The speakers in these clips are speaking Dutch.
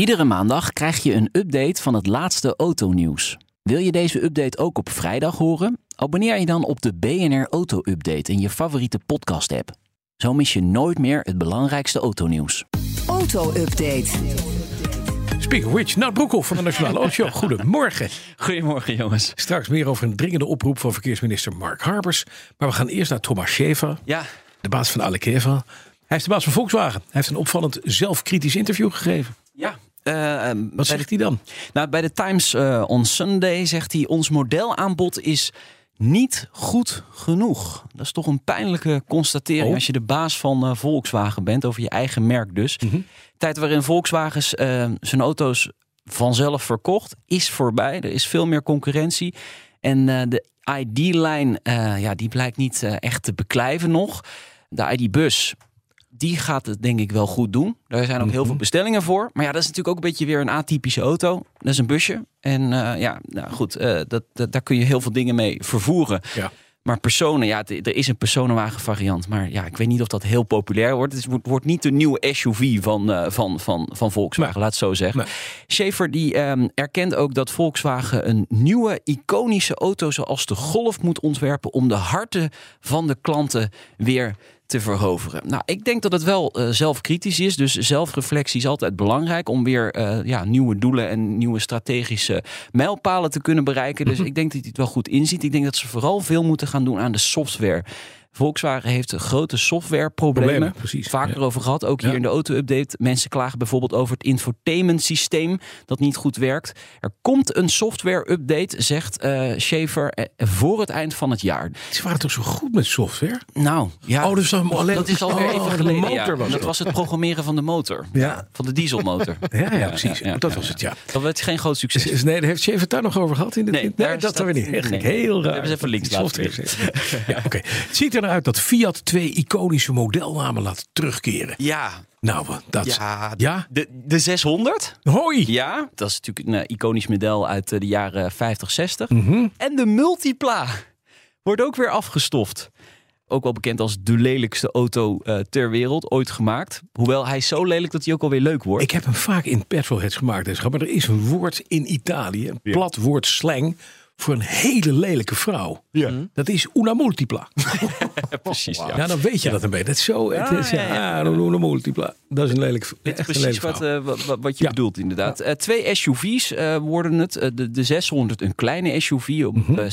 Iedere maandag krijg je een update van het laatste autonieuws. Wil je deze update ook op vrijdag horen? Abonneer je dan op de BNR Auto Update in je favoriete podcast-app. Zo mis je nooit meer het belangrijkste autonieuws. Auto-update. Speak of which, Nout Broekhoff van de Nationale Autoshow. Goedemorgen. Goedemorgen jongens. Straks meer over een dringende oproep van verkeersminister Mark Harbers. Maar we gaan eerst naar Thomas Schäfer, Ja, de baas van Alekeva. Hij is de baas van Volkswagen. Hij heeft een opvallend zelfkritisch interview gegeven. ja. Eh, ehm, bij Wat zegt hij dan? de- nou, bij de Times eh, on Sunday zegt hij: Ons modelaanbod is niet goed genoeg. Dat is toch een pijnlijke constatering Oh. als je de baas van eh, Volkswagen bent, over je eigen merk dus. Tijd waarin Volkswagens eh, zijn auto's vanzelf verkocht, is voorbij. Er is veel meer concurrentie. En eh, de ID-lijn, eh, ja, die blijkt niet eh, echt te beklijven nog. De ID-bus, die gaat het denk ik wel goed doen. Daar zijn ook Mhm. heel veel bestellingen voor. Maar ja, dat is natuurlijk ook een beetje weer een atypische auto. Dat is een busje. En eh, ja, nou goed, eh, dat, dat, daar kun je heel veel dingen mee vervoeren. Ja. Maar personen, ja, het- er is een personenwagen variant. Maar ja, ik weet niet of dat heel populair wordt. Het is- wordt- wordt niet de nieuwe SUV van, eh, van, van, van Volkswagen, Nee. laat het zo zeggen. Nee. Schaefer die ehm, erkent ook dat Volkswagen een nieuwe iconische auto zoals de Golf moet ontwerpen om de harten van de klanten weer te verhoveren. Nou, ik denk dat het wel eh, zelfkritisch is, dus zelfreflectie is altijd belangrijk om weer eh, ja, nieuwe doelen en nieuwe strategische mijlpalen te kunnen bereiken. Mhm. Dus ik denk dat hij het wel goed inziet. Ik denk dat ze vooral veel moeten gaan doen aan de software. Volkswagen heeft grote softwareproblemen. Problemen, precies. Vaak Ja. over gehad. Ook hier Ja. in de auto-update. Mensen klagen bijvoorbeeld over het infotainment systeem dat niet goed werkt. Er komt een software-update, zegt eh Schaefer, eh, voor het eind van het jaar. Ze waren toch zo goed met software? Nou, ja. Oh, dus dan alleen- dat is alweer Oh, even de geleden. motor ja. was dat het. was het programmeren van de motor. Ja. Van de dieselmotor. Ja, ja, precies. dat was het, ja. Dat werd geen groot Is- succes. is- Nee, daar heeft Schaefer het daar nog over gehad? In de, Nee, daar dat staat- hebben we niet. Heel gek, nee. heel We raar. hebben ze even links Die laten software is- Ja, oké. Het ziet er nou uit dat Fiat twee iconische modelnamen laat terugkeren. Ja, Nou, wat- dat... ja, Ja? De, de 600? Hoi! Ja, dat is natuurlijk een eh, iconisch model uit eh, de jaren 50, 60. En de Multipla wordt ook weer afgestoft. Ook wel bekend als de lelijkste auto eh, ter wereld ooit gemaakt. Hoewel hij is zo lelijk dat hij ook alweer leuk wordt. Ik heb hem vaak in petrolheads gemaakt, deze grap, maar er is een woord in Italië, een plat woord slang, voor een hele lelijke vrouw. Hm? Dat is una multipla. precies. ja. Ah, Ja, dan weet je dat een beetje. Dat is zo. Het is, ja, ja, una multipla. Dat is een lelijk, Dit is echt een precies lelijke wat, vrouw. eh, wa- wa- wat je Ja. bedoelt, inderdaad. Eh, twee SUV's eh, worden het. Eh, de, de 600, een kleine SUV op Mhm. eh,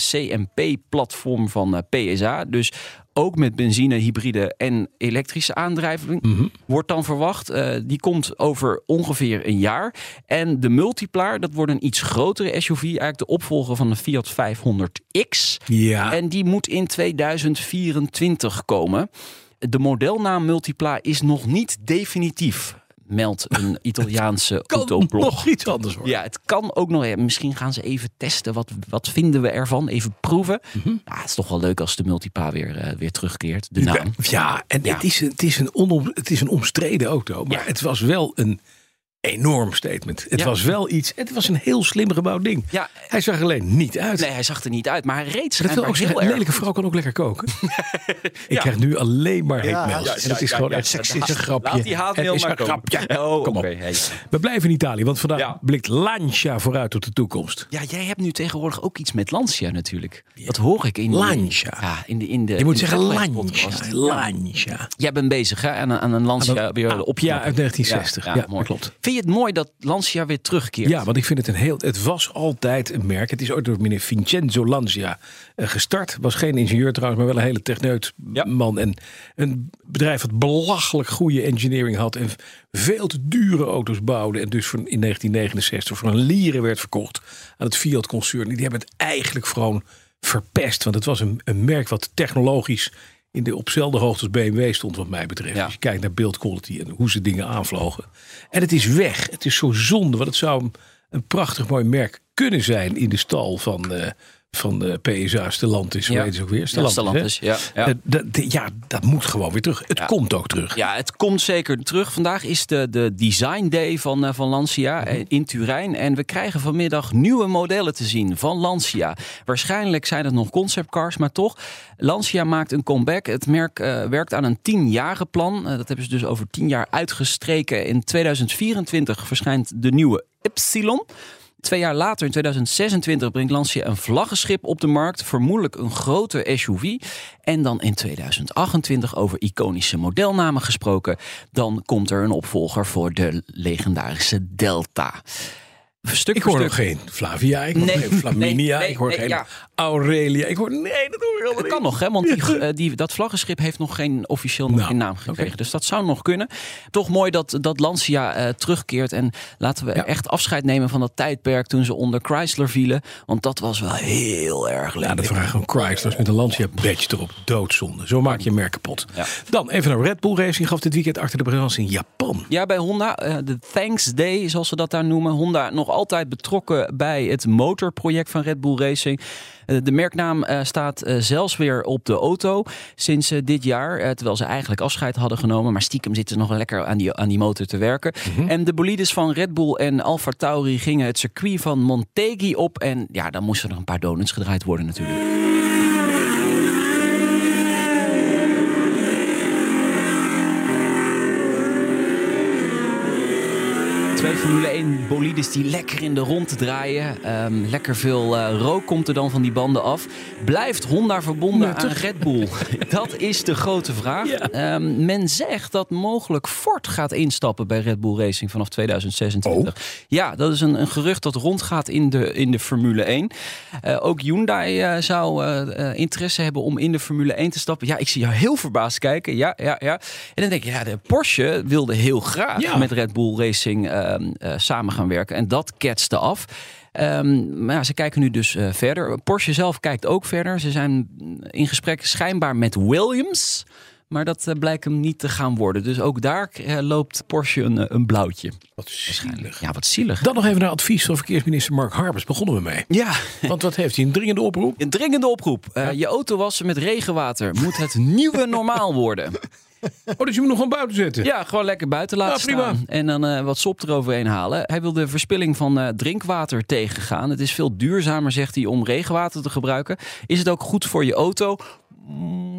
CMP-platform van eh, PSA. Dus ook met benzine, hybride en elektrische aandrijving. Mhm. Wordt dan verwacht. Eh, die komt over ongeveer een jaar. En de Multiplaar, dat wordt een iets grotere SUV. Eigenlijk de opvolger van de Fiat 500X. Ja, En die moet in 2024 komen. De modelnaam Multipla is nog niet definitief, meldt een Italiaanse kan autoblog. nog iets anders worden. Ja, het kan ook nog. ja, misschien gaan ze even testen. Wat, wat vinden we ervan? Even proeven. Mhm. Ja, het is toch wel leuk als de Multipla weer, eh, weer terugkeert. De naam. Ja, en Het, is, het, is een onom, het is een omstreden auto, maar het was wel een enorm statement. Het Ja. was wel iets, het was een heel slim gebouwd ding. Ja. Hij zag alleen niet uit. Nee, hij zag er niet uit, maar hij reed Maar dat wil schijnbaar ook zeggen, heel een erg. lelijke vrouw kan ook lekker koken. Ik krijg nu alleen maar hate mails. en dat is gewoon echt seksistisch een grapje. Laat die haatmail Het is maar een komen. grapje. Oh, Kom op. oké, hey. We blijven in Italië, want vandaag Ja. blikt Lancia vooruit op de toekomst. Ja, jij hebt nu tegenwoordig ook iets met Lancia natuurlijk. Dat hoor ik in Lancia. De, ja, in de, in de, Je moet in de zeggen podcast. Lancia. Lancia. Jij bent bezig hè? aan, een- aan een Lancia Aan een- weer ah, op ja, uit 1960. Ja, dat klopt. Vind je het mooi dat Lancia weer terugkeert? Ja, want ik vind het een heel. Het was altijd een merk. Het is ooit door meneer Vincenzo Lancia eh, gestart. Was geen ingenieur trouwens, maar wel een hele techneut Ja. man. En een bedrijf dat belachelijk goede engineering had. En veel te dure auto's bouwde. En dus voor, in 1969 voor een lieren werd verkocht aan het Fiat-concern. Die hebben het eigenlijk gewoon verpest. Want het was een, een merk wat technologisch in de, op dezelfde hoogte als BMW stond, wat mij betreft. Dus Ja. Als je kijkt naar build quality en hoe ze dingen aanvlogen. En het is weg. Het is zo zonde, want het zou een, een prachtig mooi merk kunnen zijn in de stal van, eh van de PSA Stellantis. Hoe Ja. heet het ook weer? Ja, Stellantis. Stellantis. hè? Ja, ja. Eh, dat- de- ja, dat moet gewoon weer terug. Het Ja. komt ook terug. Ja, het komt zeker terug. Vandaag is de, de Design Day van, eh, van Lancia Mhm. eh, in Turijn. En we krijgen vanmiddag nieuwe modellen te zien van Lancia. Waarschijnlijk zijn het nog conceptcars, maar toch. Lancia maakt een comeback. Het merk eh, werkt aan een tienjarenplan. plan. dat hebben ze dus over tien jaar uitgestreken. In 2024 verschijnt de nieuwe Ypsilon. Twee jaar later, in 2026, brengt Lancia een vlaggenschip op de markt. Vermoedelijk een grote SUV. En dan in 2028, over iconische modelnamen gesproken, dan komt er een opvolger voor de legendarische Delta. Stuk Ik voor hoor stuk. nog geen Flavia, ik hoor Nee, geen Flaminia, nee, ik hoor nee, geen ja. Aurelia. Ik hoor, nee, dat hoor ik allemaal Dat niet. kan nog, hè? Want die, eh, die, dat vlaggenschip heeft nog geen officieel nog Nou, geen naam gekregen. Dus dat zou nog kunnen. Toch mooi dat, dat Lancia eh, terugkeert. En laten we Ja. echt afscheid nemen van dat tijdperk toen ze onder Chrysler vielen. Want dat was wel heel erg leuk. Ja, dat vragen gewoon Chryslers met een Lancia badge erop. Doodzonde. Zo maak je een merk kapot. Ja. Dan even naar Red Bull Racing. Gaf dit weekend achter de brand in Japan. Ja, bij Honda, eh, de Thanks Day, zoals ze dat daar noemen. Honda nog altijd betrokken bij het motorproject van Red Bull Racing. Eh, De merknaam eh, staat eh, zelfs weer op de auto sinds eh, dit jaar. eh, Terwijl ze eigenlijk afscheid hadden genomen. Maar stiekem zitten ze nog wel lekker aan die, aan die motor te werken. En de bolides van Red Bull en Alfa Tauri gingen het circuit van Montegi op. En ja, dan moesten er een paar donuts gedraaid worden natuurlijk. Twee Formule 1 bolides die lekker in de rond draaien. Ehm, lekker veel eh, rook komt er dan van die banden af. Blijft Honda verbonden aan Red Bull? dat is de grote vraag. Ehm, men zegt dat mogelijk Ford gaat instappen bij Red Bull Racing vanaf 2026. Ja, dat is een, een gerucht dat rondgaat in de, in de Formule 1. Eh, ook Hyundai eh, zou eh, eh, interesse hebben om in de Formule 1 te stappen. Ja, ik zie jou heel verbaasd kijken. Ja, ja, ja. En dan denk ik, ja, de Porsche wilde heel graag Ja. met Red Bull Racing ehm, eh, samen gaan werken. En dat ketste af. Ehm, maar ja, ze kijken nu dus eh, verder. Porsche zelf kijkt ook verder. Ze zijn in gesprek schijnbaar met Williams. Maar dat eh, blijkt hem niet te gaan worden. Dus ook daar eh, loopt Porsche een, eh, een blauwtje. Wat zielig. Ja, wat zielig. Dan nog even naar advies van verkeersminister Mark Harbers. Begonnen we mee. Ja, Want wat heeft hij? Een dringende oproep? een dringende oproep. Eh, Je auto wassen met regenwater moet het nieuwe normaal worden. Oh, dus je moet nog gewoon buiten zetten. Ja, gewoon lekker buiten laten Ja, prima. staan. En dan eh, wat sop eroverheen halen. Hij wil de verspilling van eh, drinkwater tegengaan. Het is veel duurzamer, zegt hij, om regenwater te gebruiken. Is het ook goed voor je auto?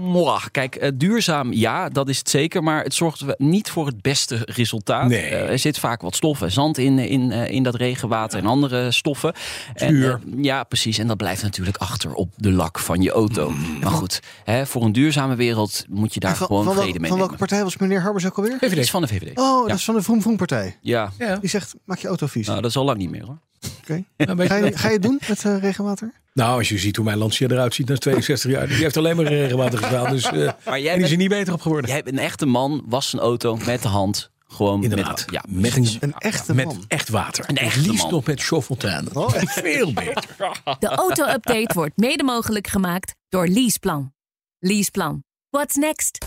Mwah. Kijk, eh, duurzaam, ja, dat is het zeker. Maar het zorgt we- niet voor het beste resultaat. Nee. Eh, er zit vaak wat stof en zand in, eh, in, eh, in dat regenwater en andere stoffen. Zuur. En, eh, ja, precies. En dat blijft natuurlijk achter op de lak van je auto. Mm. Maar goed, hè, voor een duurzame wereld moet je daar van, gewoon van, vrede welke- mee van nemen. welke partij was meneer Harbers ook alweer? Het is van de VVD. Oh, Ja. dat is van de Vroom Vroom partij. Ja, Die zegt, maak je auto vies. nou, dat is al lang niet meer hoor. Oké. Nou, weet je Ga, je, wel. ga je het doen met eh, regenwater? Nou, als je ziet hoe mijn Lancia eruit ziet na 62 jaar. Die heeft alleen maar in regenwater gedaan. Dus, eh, Maar en jij die bent, is er niet beter op geworden. jij bent een echte man, was zijn auto met de hand. Gewoon Inderdaad. Met, ja, Met een, Een echte met man. echt water. Een Het echte liefst man. nog met chauffontaine. Oh, echt? Veel beter. De auto-update wordt mede mogelijk gemaakt door Leaseplan. Leaseplan. What's next?